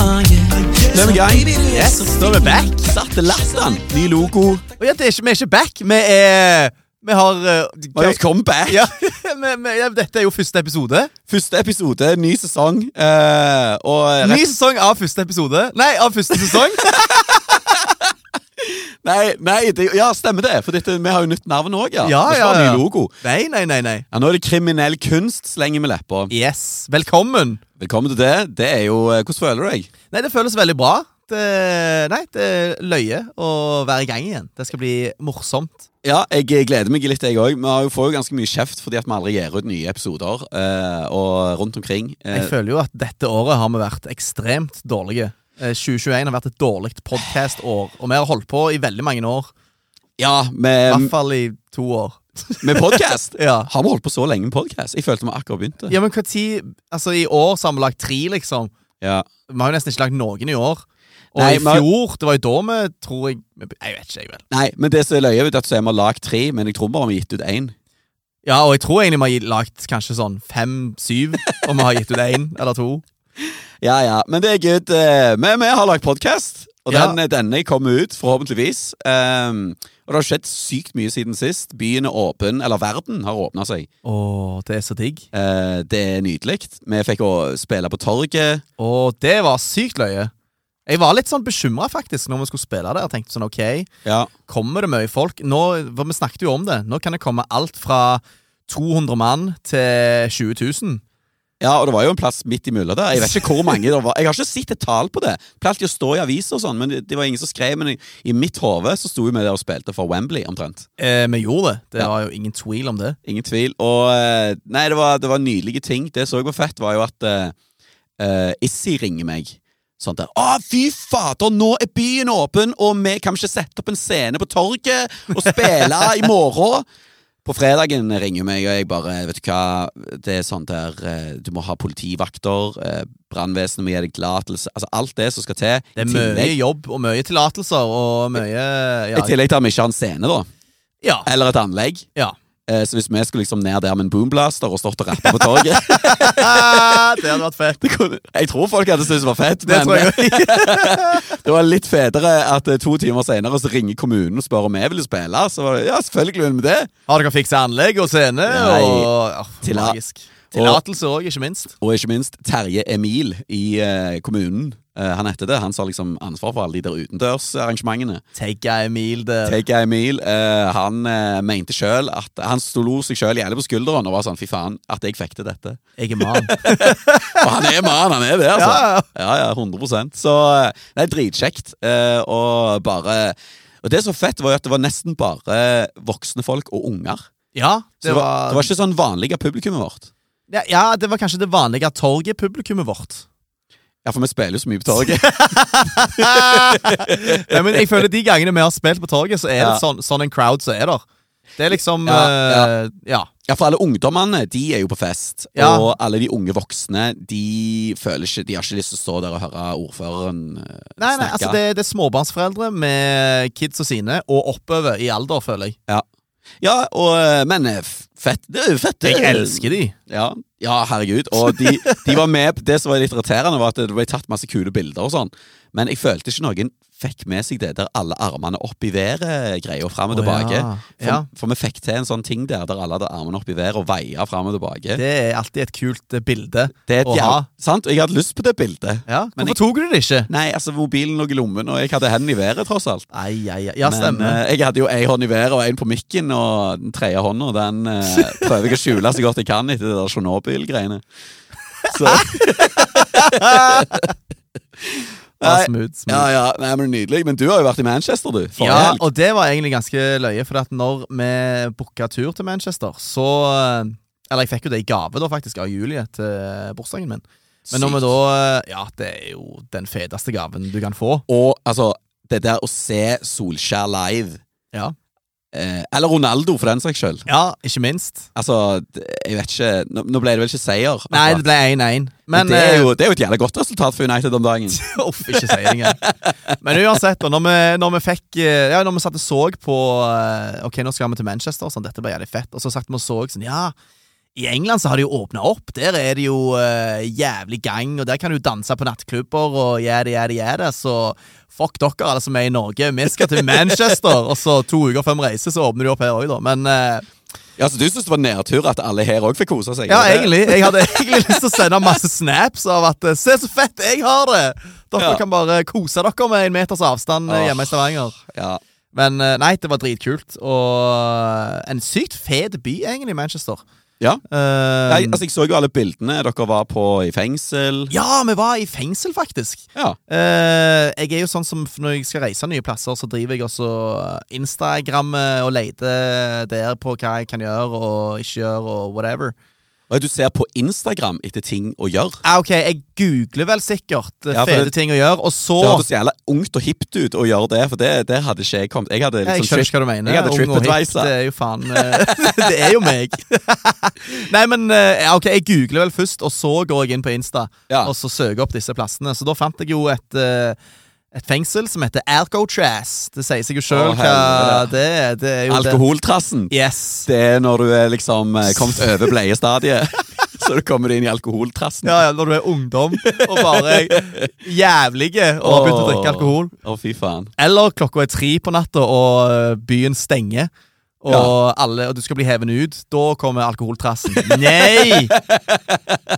Nå er vi i gang. Yes, da er vi back. Satte latteren. Ny logo. Og ja, det er ikke, vi er ikke back. Vi er Vi har eh, Har gjort comeback. ja, vi, vi, ja, Dette er jo første episode. Første episode, ny sesong. eh, og rett- Ny sesong av første episode. Nei, av første sesong. Nei, nei det, ja, stemmer det. For dette, vi har jo nytt navn òg, ja. Ja, Vi skal ja, ha ja. Ny logo. nei, nei, nei. nei Ja, nå er det kriminell kunst, slenger vi leppa. Yes. Velkommen. Velkommen til det. Det er jo eh, Hvordan føler du deg? Nei, det føles veldig bra. Det, nei, det er løye å være i gang igjen. Det skal bli morsomt. Ja, jeg gleder meg litt, jeg òg. Vi har jo- får jo ganske mye kjeft fordi at vi aldri gir ut nye episoder. eh, og rundt omkring. Jeg eh, føler jo at dette året har vi vært ekstremt dårlige. Eh, 2021 har vært et dårlig podkast-år, og vi har holdt på i veldig mange år. ja, I med, hvert fall i to år. med podkast. Ja. Har vi holdt på så lenge med podkast? Jeg følte vi akkurat begynte. Ja, men hva tid, altså I år så har vi lagt tre, liksom. Ja. Vi har jo nesten ikke lagt noen i år. Og Nei, i men- fjor, det var jo da vi tror jeg vi be- Jeg vet ikke, jeg vel. Nei, men det som er løye, vet du, at så er vi har lagd tre, men jeg tror bare vi har gitt ut én. Ja, og jeg tror egentlig vi har lagt kanskje sånn fem-syv, og vi har gitt ut én eller to. Ja, ja, men det er good. eh, Vi, vi har lagd podkast, og Ja. den, eh, denne kommer ut, forhåpentligvis. Ehm, og det har skjedd sykt mye siden sist. Byen er åpen, eller verden har åpna seg. Å, det er så digg. Eh, det er nydelig. Vi fikk å spille på torget. Å, det var sykt løye. Jeg var litt sånn bekymra faktisk når vi skulle spille der. Jeg tenkte sånn, ok, Ja. Kommer det mye folk? Nå, for Vi snakket jo om det. Nå kan det komme alt fra 200 mann til 20 000. Ja, og det var jo en plass midt imellom der. Jeg vet ikke hvor mange det var. Jeg har ikke sett et tall på det. Pleide å stå i aviser og sånn, men det, det var ingen som skrev. Men i, i mitt hode så sto jo vi der og spilte for Wembley, omtrent. Eh, vi gjorde det. Det Ja. var jo ingen tvil om det. Ingen tvil. Og eh, nei, det var, det var nydelige ting. Det som også var fett, var jo at eh, eh, Issi ringer meg. Sånn der Å, fy fader, nå er byen åpen, og vi kan ikke sette opp en scene på torget og spille i morgen. På fredagen ringer hun meg, og jeg bare Vet du hva, det er sånn der eh, Du må ha politivakter, eh, brannvesenet må gi deg tillatelse Altså alt det som skal til. I Det er tillegg- mye jobb og mye tillatelser og mye I Ja. tillegg til at vi ikke har en scene, da. ja, Eller et anlegg. ja. Eh, så hvis vi skulle liksom ned der med en boomblaster og stått og rappa på torget Ah, det hadde vært fett. Det kunne, jeg tror folk hadde syntes det var fett, Det men tror jeg òg. det var litt federe at eh, to timer senere så ringer kommunen og spør om vi ville spille. Så var det, ja, selvfølgelig vil vi det. Har dere fiksa anlegg og scene? Nei. Og, ah, Tilla- magisk. Tillatelse òg, ikke minst. Og ikke minst Terje Emil i eh, kommunen. Eh, han heter det. Han har liksom ansvar for alle de der utendørsarrangementene. Take Emil der. Take a Emil, eh, han eh, mente sjøl at Han sto lo seg sjøl jævlig på skulderen og var sånn fy faen, at jeg fikk til dette. Jeg er mann. Og han er mann, han er det, altså. Ja, ja. Ja, ja, 100 Så eh, det er dritkjekt. eh, Og bare Og det som var fett, var jo at det var nesten bare voksne folk og unger. Ja, Så det var, det var ikke sånn vanlig av publikummet vårt. ja, ja, det var kanskje det vanlige torget-publikummet vårt. Ja, for vi spiller jo så mye på torget. Ja, men jeg føler De gangene vi har spilt på torget, så er Ja. det sånn, sånn en crowd som er der. Det er liksom Ja, eh, ja. Ja, for alle ungdommene, de er jo på fest. Ja. Og alle de unge voksne, de føler ikke De har ikke lyst til å stå der og høre ordføreren eh, Nei, nei, snakke. altså det, det er småbarnsforeldre med kids og sine, og oppover i alder, føler jeg. Ja, og, eh, men eh, f- fett. Det er jo fett. det. de. Ja, ja herregud. Og de, de var med Det som var litt irriterende, var at det ble tatt masse kule bilder og sånn. Men jeg følte ikke noen fikk med seg det der alle armene opp i været-greia fram og Å, tilbake. ja. For, Ja. for vi fikk til en sånn ting der der alle hadde armene opp i været og veia fram og tilbake. Det, Det er alltid et kult eh, bilde er et å ha. jæv- sant? Og jeg hadde lyst på det bildet. Ja, Men Hvorfor tok du det ikke? Nei, altså mobilen lå i lommen, og jeg hadde hendene i været, tross alt. Ai, ai, ai. Ja, Men stemmer. eh, jeg hadde jo ei hånd i været og én på mikken, og den tredje hånda den eh, prøver jeg å skjule så godt jeg kan etter det der Tsjernobyl-greiene. Så Ja, nei. smooth, smooth. Ja, ja, nei, men Nydelig. Men du har jo vært i Manchester, du. forrige Ja, helg. og det var egentlig ganske løye, for at når vi booka tur til Manchester, så eh, Eller jeg fikk jo det i gave, da, faktisk, av Julie til bursdagen min. Men når vi Sykt. da eh, Ja, det er jo den feteste gaven du kan få. Og altså, det der å se Solskjær live, Ja, eh, eller Ronaldo for den saks skyld ja ikke minst. Altså, det- jeg vet ikke Nå, nå ble det vel ikke seier? akkurat. Nei, det ble 1-1. Men Men det er, eh, jo, det er jo et jævlig godt resultat for United om dagen. Uff, ikke si det engang. Men uansett, da, når vi, når vi fikk eh, Ja, når vi satt og så på eh, Ok, nå skal vi til Manchester, sånn, dette ble jævlig fett. Og så satt vi og så sånn, ja, I England så har de jo åpna opp. Der er det jo eh, jævlig gang, og der kan du danse på nattklubber og gjære, gjære, gjære. Så fuck dere, alle som er i Norge. Vi skal til Manchester, og så to uker før vi reiser, så åpner de opp her òg, da. Men eh, Ja, så Du syns det var nedtur at alle her òg fikk kose seg? ja, er det det? egentlig. Jeg hadde egentlig lyst til å sende masse snaps av at eh, Se så fett jeg har det! Dere Ja. kan bare kose dere med en meters avstand eh, hjemme i Stavanger. Ja. Men eh, nei, det var dritkult. Og en sykt fet by, egentlig, Manchester. ja. Eh, Nei, altså, jeg så jo alle bildene dere var på i fengsel. Ja, vi var i fengsel, faktisk. Ja. Eh, jeg er jo sånn som f- når jeg skal reise nye plasser, så driver jeg også Instagram eh, og leter der på hva jeg kan gjøre og ikke gjøre, og whatever. Og Du ser på Instagram etter ting å gjøre. Ah, OK, jeg googler vel sikkert eh, Ja, for fete det- ting å gjøre, og så Det hørtes så jævla ungt og hipt ut å gjøre det, for det, det hadde ikke jeg kommet Jeg hadde Ja, Jeg liksom skjønner ikke hva du mener. jeg hadde Ung og hipp, TripAdvisor. Det er jo faen eh, Det er jo meg. Nei, men eh, ja, OK, jeg googler vel først, og så går jeg inn på Insta Ja. og så søker jeg opp disse plassene. Så da fant jeg jo et eh, et fengsel som heter Alcotraz. Det sier seg jo sjøl Å, hva helvete. det er. Det er jo Alkoholtrassen. Det. Yes. Det er når du er liksom eh, kommet over bleiestadiet. så du kommer inn i alkoholtrassen. Ja, ja, når du er ungdom og bare er jævlige og har begynt å drikke alkohol. Å, fy faen. Eller klokka er tre på natta, og ø, byen stenger. Og, alle, og du skal bli hevet ut. Da kommer alkoholtrassen. Nei!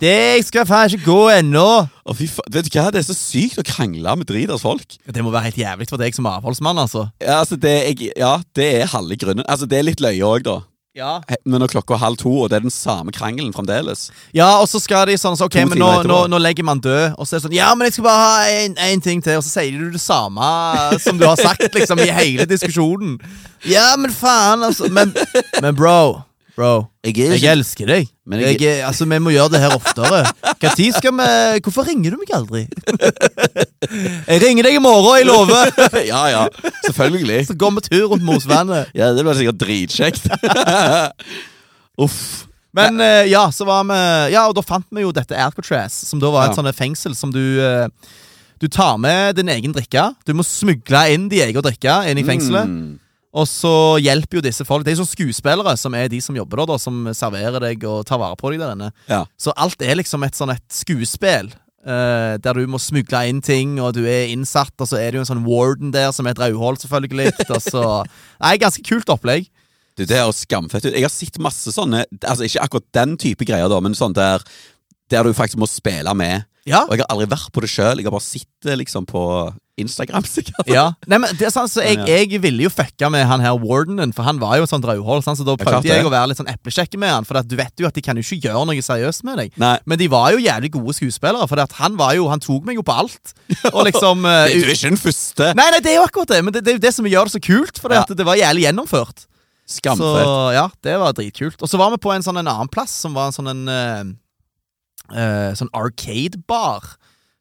Det skal faen ikke gå ennå! Å, fy faen. Vet du hva, det er så sykt å krangle med driters folk. Det må være helt jævlig for deg som avholdsmann, altså. Ja, altså, det, jeg, ja, det er halve grunnen. Altså, det er litt løye òg, da. Ja, He- Men når klokka er halv to, og det er den samme krangelen fremdeles og så skal de sånn så, OK, To men nå, timer nå, etterpå. nå legger man død. Og så er det sånn Ja, men jeg skal bare ha en, en ting til. Og så sier du det samme som du har sagt liksom i hele diskusjonen. Ja, men faen, altså. Men, men bro. Bro. Jeg Jeg elsker deg. Men jeg, jeg- er- altså, vi må gjøre det her oftere. Hva tid skal vi Hvorfor ringer du meg aldri? jeg ringer deg i morgen, jeg lover! ja, ja, selvfølgelig. Så går vi tur rundt Mosvannet. Ja, Det blir sikkert dritkjekt. Uff. Men eh, ja, så var vi Ja, og da fant vi jo dette Alcatraz, som da var et Ja. sånt fengsel som du eh, Du tar med din egen drikke. Du må smugle inn din egen drikke inn i fengselet. Mm. Og så hjelper jo disse folk. Det er jo sånne skuespillere som er de som jobber der, da, som serverer deg og tar vare på deg der inne. Ja. Så alt er liksom et sånn et skuespill. eh, der du må smugle inn ting, og du er innsatt, og så er det jo en sånn warden der som er et rødhål, selvfølgelig. Og så Nei, ganske kult opplegg. Du, det høres skamfett ut. Jeg har sett masse sånne Altså Ikke akkurat den type greier, da, men sånn der Der du faktisk må spille med. Ja. Og jeg har aldri vært på det sjøl. Jeg har bare sett det liksom på Instagram. sikkert ja. Nei, men det er sant, så jeg, Men jeg ville jo fucka med han her wardenen, for han var jo et sånt rødhål, sant, så da Ja, klart prøvde jeg det. å være litt sånn eplekjekke med han, for at du vet jo at de kan jo ikke gjøre noe seriøst med deg. Nei. Men de var jo jævlig gode skuespillere, for at han var jo, han tok meg jo på alt. Og liksom eh, Du er ikke den første. Nei, nei, det er jo akkurat det, men det, det er jo det som gjør det så kult, for det, Ja. at det var jævlig gjennomført. Så Skamfett. ja, det var dritkult. Og så var vi på en sånn en annen plass, som var en sånn en eh, eh, Sånn arcade-bar.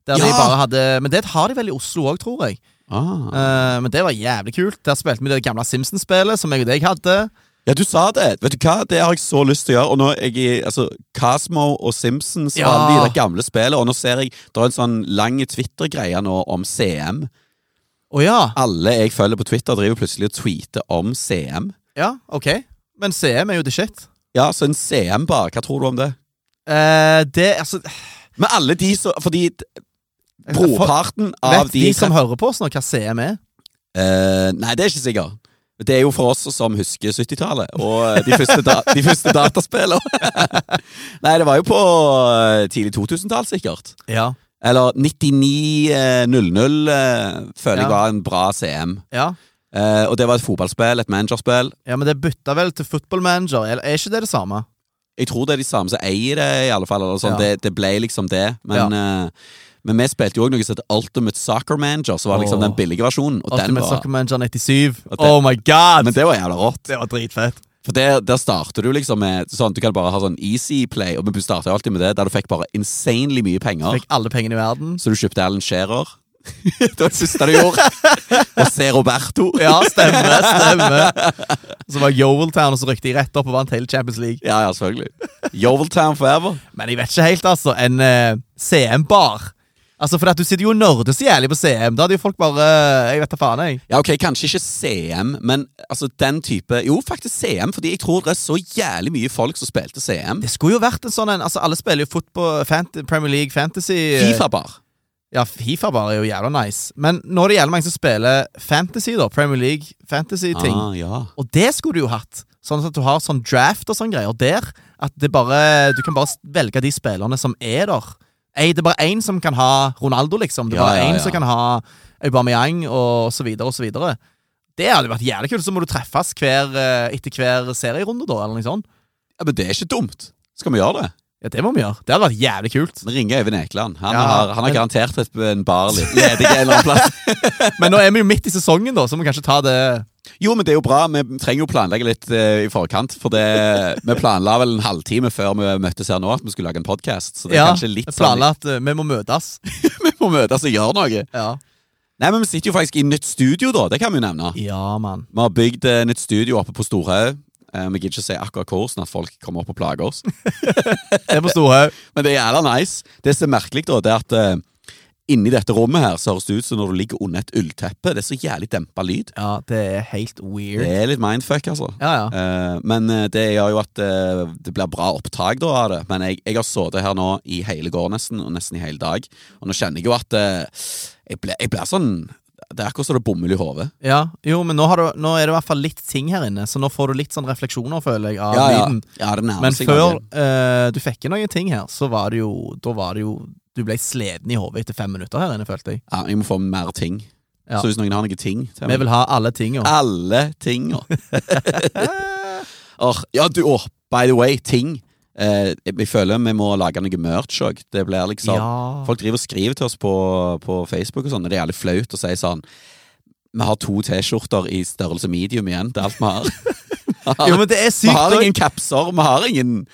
Der de Ja! bare hadde Men det har de vel i Oslo òg, tror jeg. Ah. Eh, men det var jævlig kult. Der spilte vi det gamle Simpsons-spillet som jeg og deg hadde. Ja, du sa det. Vet du hva? Det har jeg så lyst til å gjøre. Og nå er jeg i altså, Cosmo og Simpsons Ja. og alle de der gamle spillene. Og nå ser jeg det er en sånn lang Twitter-greie nå om CM. Å ja. Alle jeg følger på Twitter, driver plutselig og tweeter om CM. Ja, OK. Men CM er jo the shit. Ja, så en CM bare. Hva tror du om det? Eh, det Altså Men alle de som Fordi brorparten av Vet de, de som hører på oss nå, hva CM er? Eh, Nei, det er ikke sikkert. Det er jo for oss som husker 70-tallet og eh, de første, da de første dataspillene. nei, det var jo på eh, tidlig 2000-tall, sikkert. Ja. Eller 99-00 føler Ja. jeg var en bra CM. ja. Eh, og det var et fotballspill, et managerspill. Ja, men det bytta vel til Football Manager, eller er ikke det det samme? Jeg tror det er de samme som eier det, i alle fall. Eller sånn. Ja. det, det ble liksom det. Men, eh, men vi spilte jo òg noe som heter Ultimate Soccer Manager, som var liksom Åh. den billige versjonen. Og den Ultimate var, Soccer Manager 97. Og det- Oh my god! men det var jævla rått. det var dritfett. For der, der starter du liksom med sånn, Du kan bare ha sånn easy play, og vi starta alltid med det, der du fikk bare insanely mye penger. Fikk alle pengene i verden. Så du kjøpte Alan Shearer. det var det siste du gjorde. og se Roberto. Ja, stemmer, stemmer. Så var Yoveltown, og så rykte de rett opp og vant hele Champions League. Ja, ja, selvfølgelig. Yoveltown forever. Men jeg vet ikke helt, altså. En eh, CM-bar. Altså, for at Du sitter jo og nerder så jævlig på CM. Da hadde jo folk bare eh, Jeg vet da faen, jeg. Ja, ok, Kanskje ikke CM, men altså den type Jo, faktisk CM, fordi jeg tror det er så jævlig mye folk som spilte CM. Det skulle jo vært en sånn en. Altså, alle spiller jo fotball, fant- Premier League, Fantasy eh, Fifa-bar. Ja, Fifa bare er jo jævla nice. Men nå er det jævlig mange som spiller Fantasy, da. Premier League, Fantasy-ting. Ah, ja. Og det skulle du jo hatt. Sånn at du har sånn draft og sånn greier der. At det bare, du kan bare velge de spillerne som er der. Ei, det er bare én som kan ha Ronaldo, liksom. Det er Ja, bare ja, én ja. som kan ha Aubameyang, og så videre og så videre. Det hadde jo vært jævlig kult. Så må du treffes hver, eh, etter hver serierunde, da, eller noe sånt. ja, Men det er ikke dumt. Skal vi gjøre det? Ja, det må vi gjøre. Det hadde vært jævlig kult. Vi ringer Øyvind Ekeland. Han, Ja, har, han har men- garantert et, en bar li- ledig en eller annen plass. Men nå er vi jo midt i sesongen, da, så må vi kanskje ta det Jo, men det er jo bra. Vi trenger jo planlegge litt eh, i forkant. For det, vi planla vel en halvtime før vi møttes her nå at vi skulle lage en podkast. Så det er Ja, kanskje litt sånn planlagt. eh, Vi må møtes. vi må møtes og gjøre noe. Ja, Nei, men vi sitter jo faktisk i nytt studio, da. Det kan vi jo nevne. ja mann. Vi har bygd eh, nytt studio oppe på Storhaug. Eh, Vi gidder ikke si akkurat hvor, sånn at folk kommer opp og plager oss. Det er på Storhaug. Men det er jævla nice. Det som er merkelig, da, det er at eh, inni dette rommet her så høres det ut som når du ligger under et ullteppe. Det er så jævlig dempa lyd. Ja, det er helt weird. Det er litt mindfuck, altså. Ja, ja. Eh, men eh, det gjør jo at eh, det blir bra opptak da, av det. Men jeg, jeg har sittet her nå i hele går nesten, og nesten i hele dag. Og nå kjenner jeg jo at eh, jeg blir jeg blir sånn Det er akkurat som det er bomull i hodet. Ja, jo, men nå, har du, nå er det i hvert fall litt ting her inne, så nå får du litt sånn refleksjoner, føler jeg, av Ja, ja. lyden. ja, det nærmer Men seg før noe. eh, du fikk inn noen ting her, så var det jo Da var det jo Du ble sliten i hodet etter fem minutter her inne, følte jeg. ja, Jeg må få mer ting. Ja. Så hvis noen har noen ting til Vi meg vil ha alle tinga. Alle tinga. Or, ja, du, åh, by the way, ting. Eh, jeg føler vi må lage noe merch òg. Det blir liksom Ja. Folk driver og skriver til oss på, på Facebook, og sånn, og det er jævlig flaut å si sånn Vi har to T-skjorter i størrelse medium igjen. Det er alt vi har. Jo, men det er Vi sykt. har og ingen kapser, vi har ingen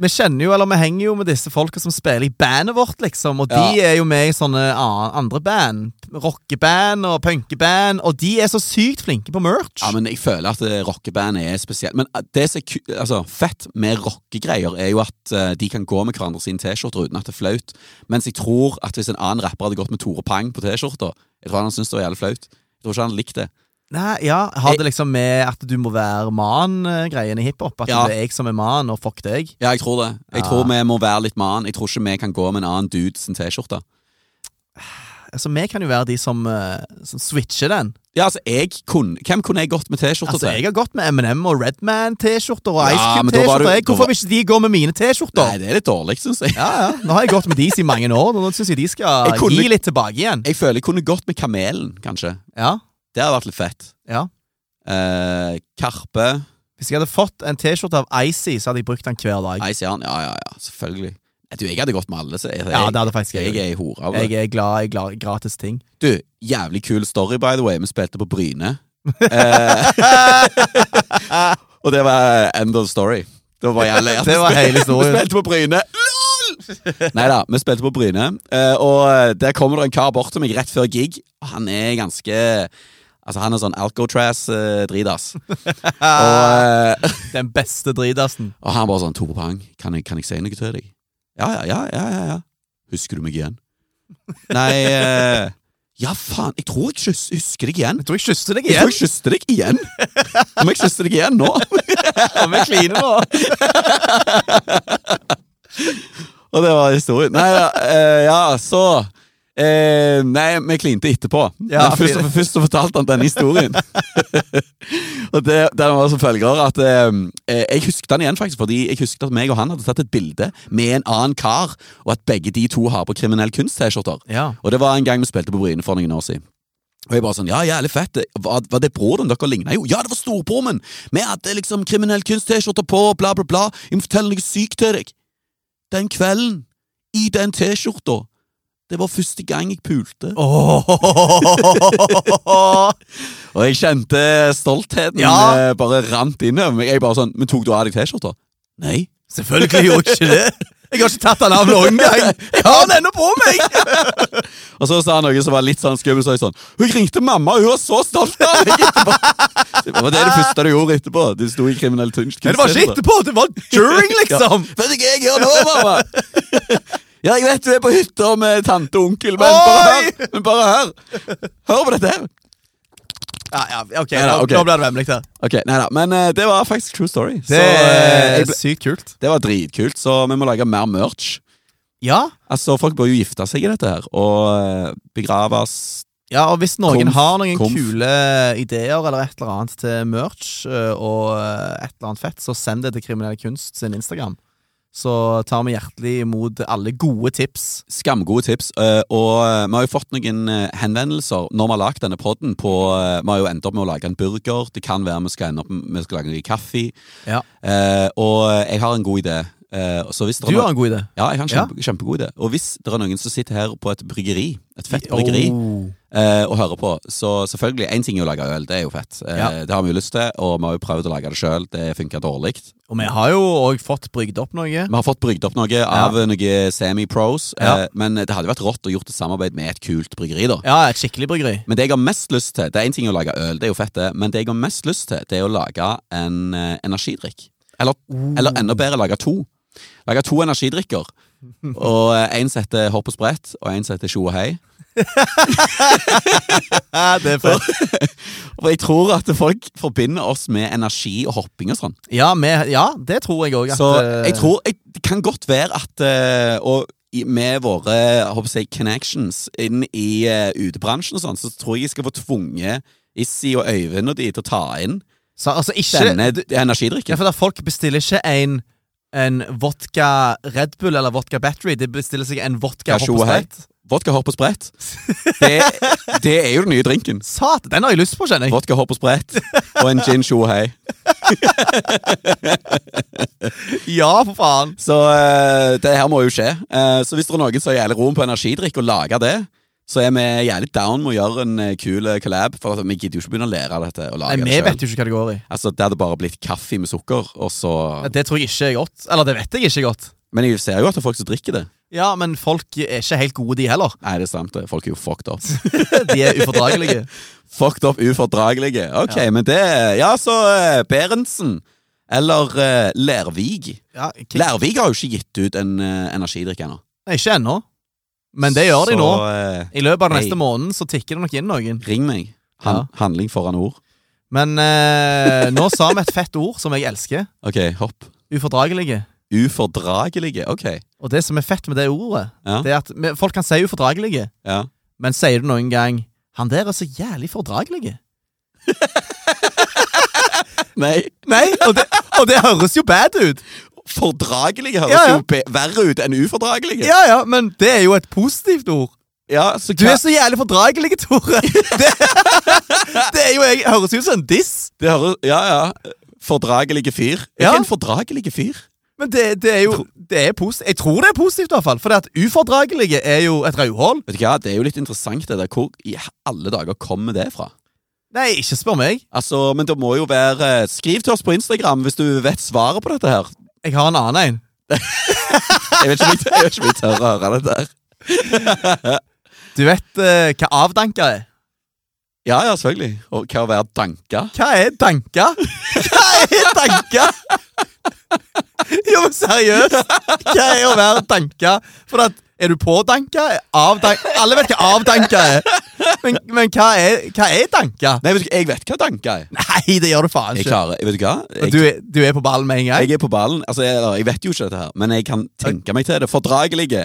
Vi kjenner jo, eller vi henger jo med disse folka som spiller i bandet vårt, liksom. Og de Ja. er jo med i sånne an- andre band. Rockeband og punkeband. Og de er så sykt flinke på merch. Ja, men jeg føler at eh, rockeband er spesielt. Men eh, det som er ku- altså, fett med rockegreier, er jo at eh, de kan gå med hverandre sine T-skjorter uten at det er flaut. Mens jeg tror at hvis en annen rapper hadde gått med Tore Pang på T-skjorta, jeg tror han syntes det var jævlig flaut. Jeg tror ikke han likte det. Nei, ja, Har det liksom med at du må være man-greien i hiphop? At Ja. det er jeg som er man, og fuck deg? Ja, jeg tror det. Jeg Ja. tror vi må være litt man. Jeg tror ikke vi kan gå med en annen dude sin T-skjorte. Altså, Vi kan jo være de som, eh, som switcher den. Ja, altså, jeg kunne Hvem kunne jeg gått med T-skjorte Altså, til? Jeg har gått med M&M og Redman-T-skjorter Ja, og Ice men da var du- Cube-T-skjorter. Jeg- da Hvorfor var- vil ikke de gå med mine Nei, T-skjorter? det er litt dårlig, syns jeg. Ja, ja. Nå har jeg gått med de i mange år, og nå syns jeg de skal Jeg kunne- gi litt tilbake igjen. Jeg føler jeg kunne gått med Kamelen, kanskje. Ja, Det hadde vært litt fett. ja. Eh, Karpe. Hvis jeg hadde fått en T-skjorte av Icy, så hadde jeg brukt den hver dag. Ice Jern, ja, ja, ja, selvfølgelig. Nei, Du, jeg hadde gått med alle. Så jeg, Ja, det hadde faktisk jeg, jeg. jeg er i hora. Jeg Jeg, er glad i gla- gratis ting. du, jævlig kul story, by the way. Vi spilte på Bryne. Eh, og det var end of story. Det var, jævlig, at vi Det var spilte- hele historien. Vi spilte på Bryne. LOL! Nei da, vi spilte på Bryne, eh, og der kommer det en kar bort til meg rett før gig. Og Han er ganske Altså, han er sånn Alcotraz-dritas. og eh, Den beste dritasen. Og han bare sånn, Tore Pang, kan jeg, kan jeg si noe til deg? Ja, ja, ja, ja, ja, ja. Husker du meg igjen? Nei, eh, ja faen, jeg tror jeg kyss- husker deg igjen. Jeg tror jeg kysser deg Jeg tror igjen. jeg kysste deg igjen. Om jeg kysste deg igjen nå? Ja, Vi kliner nå. Og det var historien. Nei, ja, eh, ja så... Eh, nei, vi klinte etterpå. Ja, Men først, fint. først så fortalte han denne historien. og det, den var som følger at eh, eh, Jeg husket han igjen, faktisk, fordi jeg husket at meg og han hadde tatt et bilde med en annen kar, og at begge de to har på kriminell kunst-T-skjorter. Ja. Og det var en gang vi spilte på Bryne for noen år siden. Og jeg bare sånn, ja, jævlig fett. Var, var det broren dere ligna jo? Ja, det var storbroren min! Vi hadde liksom kriminell kunst-T-skjorte på, bla, bla, bla. Jeg må fortelle noe sykt til deg. Den kvelden, i den T-skjorta, det var første gang jeg pulte. Åh. Og jeg kjente stoltheten Ja. eh, bare rant innover meg. Jeg bare sånn, men tok du av deg T-skjorta? Nei. Selvfølgelig gjorde jeg ikke det. Jeg har ikke tatt den av noen gang. Jeg har den ennå på meg! Og så sa han noe som var litt sånn skummelt, så jeg sånn Hun ringte mamma, og hun var så stolt av meg! etterpå. Det var det det første du gjorde etterpå. Du sto i kriminell kunst. Men det var ikke etterpå, det var during, liksom. Vet ikke jeg gjør nå, mamma! Ja, jeg vet du er på hytta med tante og onkel, men Oi! bare hør! Men bare hør. hør på dette her. Ja, ja, ok, Ja, nå- ok. Nå blir det vemmelig her. Ok, nei da, Men eh, det var faktisk true story. Så, Det eh, er jeg ble, sykt kult. det var dritkult, så vi må lage mer merch. Ja, Altså, Folk bør jo gifte seg i dette her, og eh, begraves Ja, og hvis noen Komf, har noen komf. kule ideer eller et eller annet til merch øh, og øh, et eller annet fett, så send det til Kriminell Kunst sin Instagram. Så tar vi hjertelig imot alle gode tips. Skamgode tips. eh, og eh, vi har jo fått noen eh, henvendelser når vi har lagd denne podden på eh, Vi har jo endt opp med å lage en burger. Det kan være vi skal ende opp med vi skal lage noe kaffe. Ja. Eh, og eh, jeg har en god idé. Eh, så hvis dere Du har en god idé. Ja, jeg har en Ja. kjempe, kjempegod idé. Og hvis det er noen som sitter her på et bryggeri, et fett bryggeri, Oh. eh, og hører på, så selvfølgelig Én ting er å lage øl, det er jo fett. Eh, Ja. Det har vi jo lyst til, og vi har jo prøvd å lage det sjøl. Det funka dårlig. Og vi har jo òg fått brygd opp noe. Vi har fått brygd opp noe av noen semi-pros, Ja. eh, men det hadde jo vært rått å gjort et samarbeid med et kult bryggeri, da. Ja, et skikkelig bryggeri. Men det jeg har mest lyst til, det er én ting å lage øl, det er jo fett, det, men det jeg har mest lyst til, det er å lage en eh, energidrikk. Eller, eller enda bedre, lage to. Lage to energidrikker. Og eh, én setter hopp og sprett, og én setter tjo og hei. Ja, det er fett. For jeg tror at folk forbinder oss med energi og hopping og sånn. Ja, vi, ja, det tror jeg òg. Så jeg tror jeg, Det kan godt være at eh, Og i- med våre jeg håper jeg, connections inn i eh, utebransjen og sånn, så tror jeg jeg skal få tvunget Issi og Øyvind og de til å ta inn så, altså, ikke, denne du- Ja, energidrikken. for da folk bestiller ikke en en vodka Red Bull eller vodka Battery. De bestiller seg en Ja, vodka tjo og hei. hoppestreit. Vodka, hopp og sprett. Det, det er jo den nye drinken. Satan, den har jeg lyst på, kjenner jeg. Vodka, hopp og sprett og en gin tjo og hei. Ja, for faen. Så eh, det her må jo skje. Eh, så hvis det er noen som har jævlig roen på energidrikk og lager det, så er vi jævlig down med å gjøre en eh, kul eh, collab. For at vi gidder jo ikke begynne å lære av dette og lage Nei, Vi det selv. vet jo ikke hva det går i. Altså, det hadde bare blitt kaffe med sukker, og så Ja, Det tror jeg ikke er godt. Eller det vet jeg ikke er godt. Men jeg ser jo at det er folk som drikker det. Ja, men folk er ikke helt gode, de heller. Nei, det er sant. det. Folk er jo fucked up. De er ufordragelige. fucked up ufordragelige. Ok, men det Ja, så eh, Berentsen. Eller eh, Lervig. Ja, k- Lervig har jo ikke gitt ut en eh, energidrikk ennå. Nei, ikke ennå. Men det gjør de nå. Så eh, I løpet av den Hei. neste måneden så tikker det nok inn noen. ring meg. Han, Ja. Handling foran ord. Men eh, nå sa vi et fett ord som jeg elsker. Ok, hopp. Ufordragelige. Ufordragelige. Ok. Og det som er fett med det ordet, Ja. det er at vi- folk kan si ufordragelige, Ja. men sier du noen gang 'Han der er så jævlig fordragelig'? Nei, Nei, og det, og det høres jo bad ut! fordragelige høres Ja, ja. jo be- verre ut enn ufordragelige. Ja ja, men det er jo et positivt ord. Ja, så Du hva- er så jævlig fordragelig, Tore! Det, det er jo jeg, høres ut som en diss, Det høres Ja, ja. Fordragelige fyr. Er Ja. ikke en fordragelige fyr? men det, det er jo det er posi- Jeg tror det er positivt, i hvert fall. For at ufordragelige er jo et rødhål. Vet du hva, Det er jo litt interessant, det der. Hvor i alle dager kommer det fra? Nei, ikke spør meg. Altså, Men det må jo være eh, Skriv til oss på Instagram hvis du vet svaret på dette her. Jeg har en annen en. Jeg vet ikke om jeg, jeg, vet ikke om jeg tør å høre dette her. Du vet eh, hva avdanka er? Ja, ja, selvfølgelig. Og hva å være danka? Hva er danka? Hva er danka? Jo, men seriøst! Hva er å være danka? For at, er du pådanka? Er avdank- Alle vet hva avdanka er. Men, men hva, er, hva er danka? Nei, vet du, hva, jeg vet hva danka er. Nei, det gjør du faen Jeg ikke. klarer, vet du hva? Og Jeg, Du, er- du er på ballen med en gang? jeg er på ballen. Altså, jeg, eller, jeg vet jo ikke dette her, men jeg kan tenke meg til det. Fordragelige.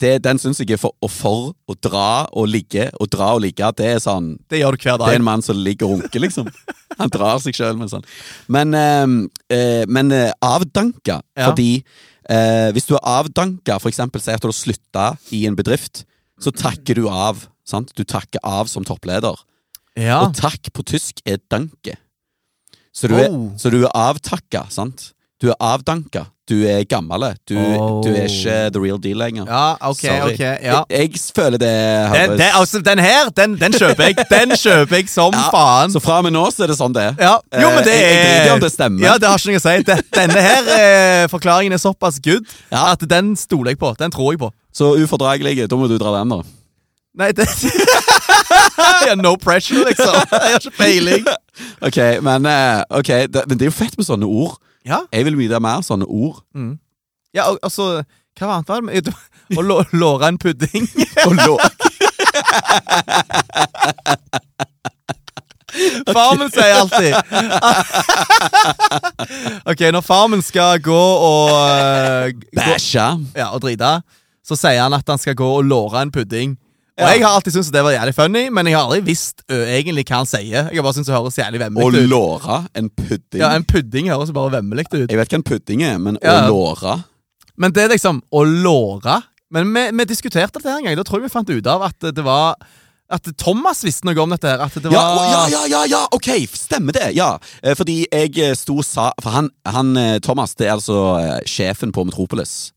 Det, den syns jeg er for og for å dra og ligge og dra og ligge. Det er sånn Det gjør du hver Det er dag. en mann som ligger og runker, liksom. Han drar seg sjøl med sånn. Men, eh, eh, men eh, avdanka, Ja. fordi eh, hvis du er avdanka, for eksempel si at du har slutta i en bedrift, så takker du av. Sant? Du takker av som toppleder. Ja. Og takk på tysk er danke. Så du er, Oh. så du er avtakka, sant? Du er avdanka. Du er gammel. Du, Oh. du er ikke the real deal lenger. ja, ok, Sorry. ok. Ja. Jeg, jeg føler det Den, høres- den, altså, den her, den, den kjøper jeg. Den kjøper jeg som Ja, faen. Så fra og med nå så er det sånn det er. Ja. Jo, men det Eh, jeg- jeg driter i er om det stemmer. Ja, det har ikke noe å si. Den- Denne her eh, forklaringen er såpass good at den stoler jeg på. Den tror jeg på. Så ufordragelige, da må du dra den, da. Nei, det ja, No pressure, liksom. Jeg har ikke peiling. Ok, men, eh, ok, det, men det er jo fett med sånne ord. Ja, Jeg vil vite mer sånne ord. ja al- altså Hva var annet var det? og lå- låra en pudding. Og lå Far min sier alltid Ok, når far min skal gå og eh, gå, Bæsja. ja, og drite, så sier han at han skal gå og låre en pudding. Og Ja. Jeg har alltid syntes det var jævlig funny, men jeg har aldri visst ø, egentlig hva han sier. Jeg har bare syntes det høres jævlig Og vemmelig ut. låra en pudding. Ja, En pudding høres jo bare vemmelig ut. Jeg vet hva en pudding er, men Ja. å låra Men det er liksom å låre Men vi, vi diskuterte dette her en gang. Da tror jeg vi fant ut av at det var At Thomas visste noe om dette. her At det var ja, å, ja, ja, ja, ja, ok, stemmer det. Ja, Eh, fordi jeg eh, sto og sa For han, han eh, Thomas, det er altså eh, sjefen på Metropolis.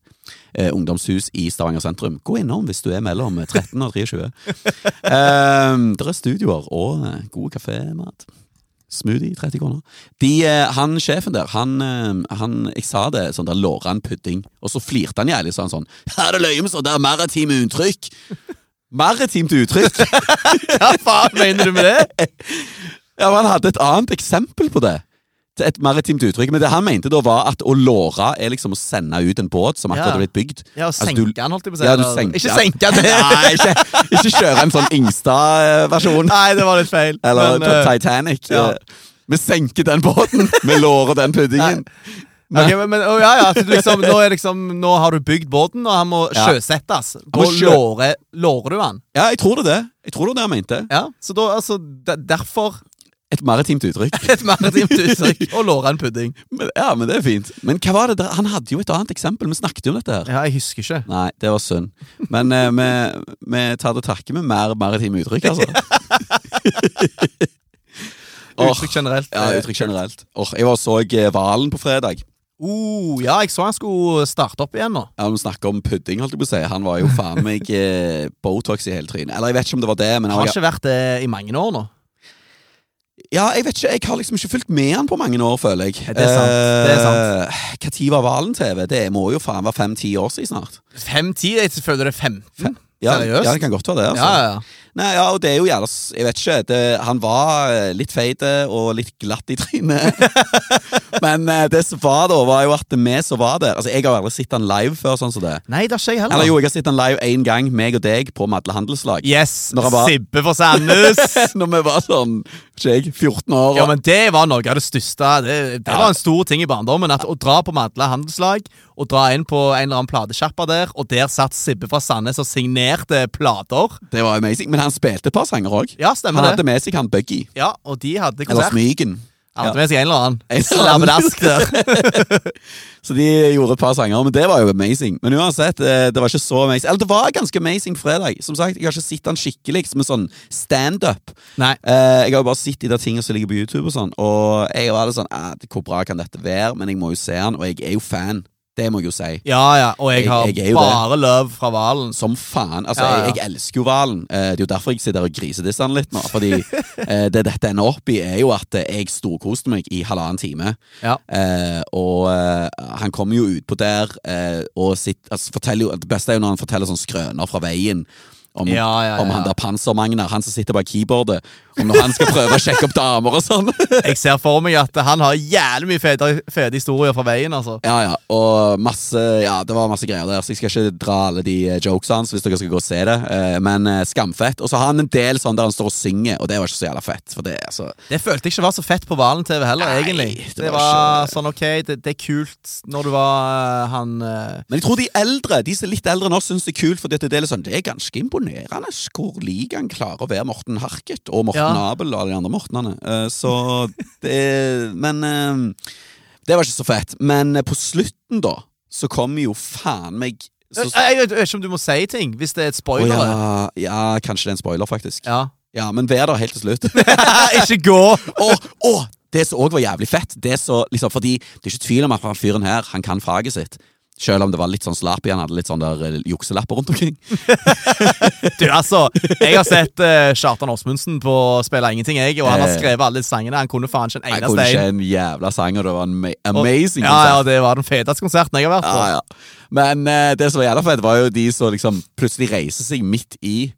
Eh, ungdomshus i Stavanger sentrum. Gå innom hvis du er mellom 13 og 23. um, det er studioer og eh, god kafémat. Smoothie, 30 kroner. De, eh, han sjefen der, han, eh, han Jeg sa det sånn, der låra en pudding, og så flirte han jævlig, sa han sånn. Her er det løyem, så det er maritime uttrykk! Maritimt uttrykk! Hva faen mener du med det? Ja, men Han hadde et annet eksempel på det. Til Et maritimt uttrykk. Men det han mente da, var at å låre er liksom å sende ut en båt som akkurat Ja. er blitt bygd. Ja, å Altså, senke du- han, holdt jeg på å si. Ja, du eller- senker Ikke han. senke det! Nei, ikke, ikke kjøre en sånn Ingstad-versjon. Nei, det var litt feil. Eller Men, eh, Titanic. ja. Eh, Vi senker den båten! Vi lårer den puddingen. ok, men, men, å, ja, ja, at du liksom, nå, er liksom, nå har du bygd båten, og han må Ja. sjøsettes. må Nå sjø- lårer, lårer du han. Ja, jeg tror det. det Jeg tror det var det han mente. Ja, så da, altså, de, derfor Et maritimt uttrykk. et maritimt uttrykk å låre en pudding. Men, ja, men det er fint. Men hva var det der? Han hadde jo et annet eksempel. Vi snakket jo om dette her. Ja, jeg husker ikke. Nei, det var synd. Men eh, vi, vi tar til takke med mer maritime uttrykk, altså. Åh, Uttrykk generelt. ja, uttrykk generelt. Åh, jeg var så eh, Valen på fredag. Oh, ja, jeg så han skulle starte opp igjen nå. Ja, Vi snakker om pudding, holdt jeg på å si. Han var jo faen meg eh, Botox i hele trynet. Eller jeg vet ikke om det var det, men Han han har var, ikke vært det i mange år nå. Ja, jeg vet ikke, jeg har liksom ikke fulgt med han på mange år, føler jeg. Eh, Ja, det er sant, det er sant. Hva tid var Valen TV? Det må jo faen være fem-ti år siden snart. Fem-ti? Jeg føler det er 15. Ja, Seriøst? Ja, det kan godt være det. altså. Ja, ja, ja. Nei, ja, og det er jo gjerne s- Jeg vet ikke. Det, han var eh, litt feit eh, og litt glatt i trynet. Men eh, det som var da, var jo at vi som var der Altså, jeg har aldri sett han live før. sånn som det Nei, det har ikke jeg heller. Eller jo, jeg har sett han live én gang, meg og deg, på Madle Handelslag. Yes, Når han var- Sibbe for Sandnes! Når vi var sånn ikke jeg, 14 år. Ja, og- men Det var noe av det største. Det, det Ja. var en stor ting i barndommen. At Å dra på Madla handelslag og dra inn på en eller annen platesjappa der, og der satt Sibbe fra Sandnes og signerte plater. Det var amazing. Men han spilte et par sanger òg. Ja, han stemmer hadde det. med seg han Buggy. Ja, Og de hadde Eller konsert. Smygen. Han hadde med seg en eller En annen eller annen. slabbedask der. Så de gjorde et par sanger, men det var jo amazing. Men uansett, eh, det var ikke så amazing. Eller det var ganske amazing fredag. Som sagt, Jeg har ikke sett han skikkelig som en sånn standup. Nei. Eh, jeg har jo bare sett de der tingene som ligger på YouTube og sånn, og jeg var litt sånn eh, Hvor bra kan dette være? Men jeg må jo se han, og jeg er jo fan. Det må jeg jo si. Ja, ja. Og jeg Jeg- har jeg er jo bare løv fra Valen. Som faen. Altså, Ja, ja. Jeg, jeg elsker jo Valen. Eh, det er jo derfor jeg sitter her og grisedisser han litt nå. Fordi eh, det dette ender opp i, er jo at eh, jeg storkoste meg i halvannen time. Ja. Eh, og eh, han kommer jo utpå der eh, og sitt, altså, forteller jo Det beste er jo når han forteller sånne skrøner fra veien. Om, Ja, ja, om ja. han der Panser-Magnar, han som sitter bak keyboardet. Om når han skal prøve å sjekke opp damer og sånn. Jeg ser for meg at han har jævlig mye fete, fete historier fra veien, altså. Ja, ja, og masse Ja, det var masse greier der, så jeg skal ikke dra alle de eh, jokesa hans hvis dere skal gå og se det, eh, men eh, skamfett. Og så har han en del sånn der han står og synger, og det var ikke så jævla fett, for det, altså Det følte jeg ikke var så fett på Valen TV heller, Nei, egentlig. det Det, var var ikke- sånn, ok, det, det er kult når du var eh, han eh, Men jeg tror de eldre de som er litt eldre nå syns det er kult, for det er litt sånn, det er ganske imponerende hvor lik han klarer å være Morten Harket og Morten Ja. Abel og alle de andre Mortenene. Eh, Så det Men eh, det var ikke så fett. Men eh, på slutten, da, så kom jo faen meg så, Jeg, jeg vet jeg vet ikke om du må si ting hvis det er Å et Eh, spoiler. ja, eller? ja, kanskje det er en spoiler, faktisk. ja. Ja, men vær der helt til slutt. ikke gå! og, og det som òg var jævlig fett, det så, liksom, fordi det er ikke tvil om at han fyren her han kan faget sitt. Selv om det var litt sånn slapp i han hadde litt sånn der eh, jukselapper rundt omkring. Du, altså, jeg har sett eh, Kjartan Åsmundsen på Spille ingenting, jeg, og han har Eh. skrevet alle disse sangene. Han kunne faen ikke en Jeg kunne eneste ikke en. en jævla sang, og det var en ma- Og- amazing Ja, ja, konsert. det var den feteste konserten jeg har vært Ja, på. ja. Men eh, det som var jævla fett, var jo de som liksom plutselig reiser seg midt i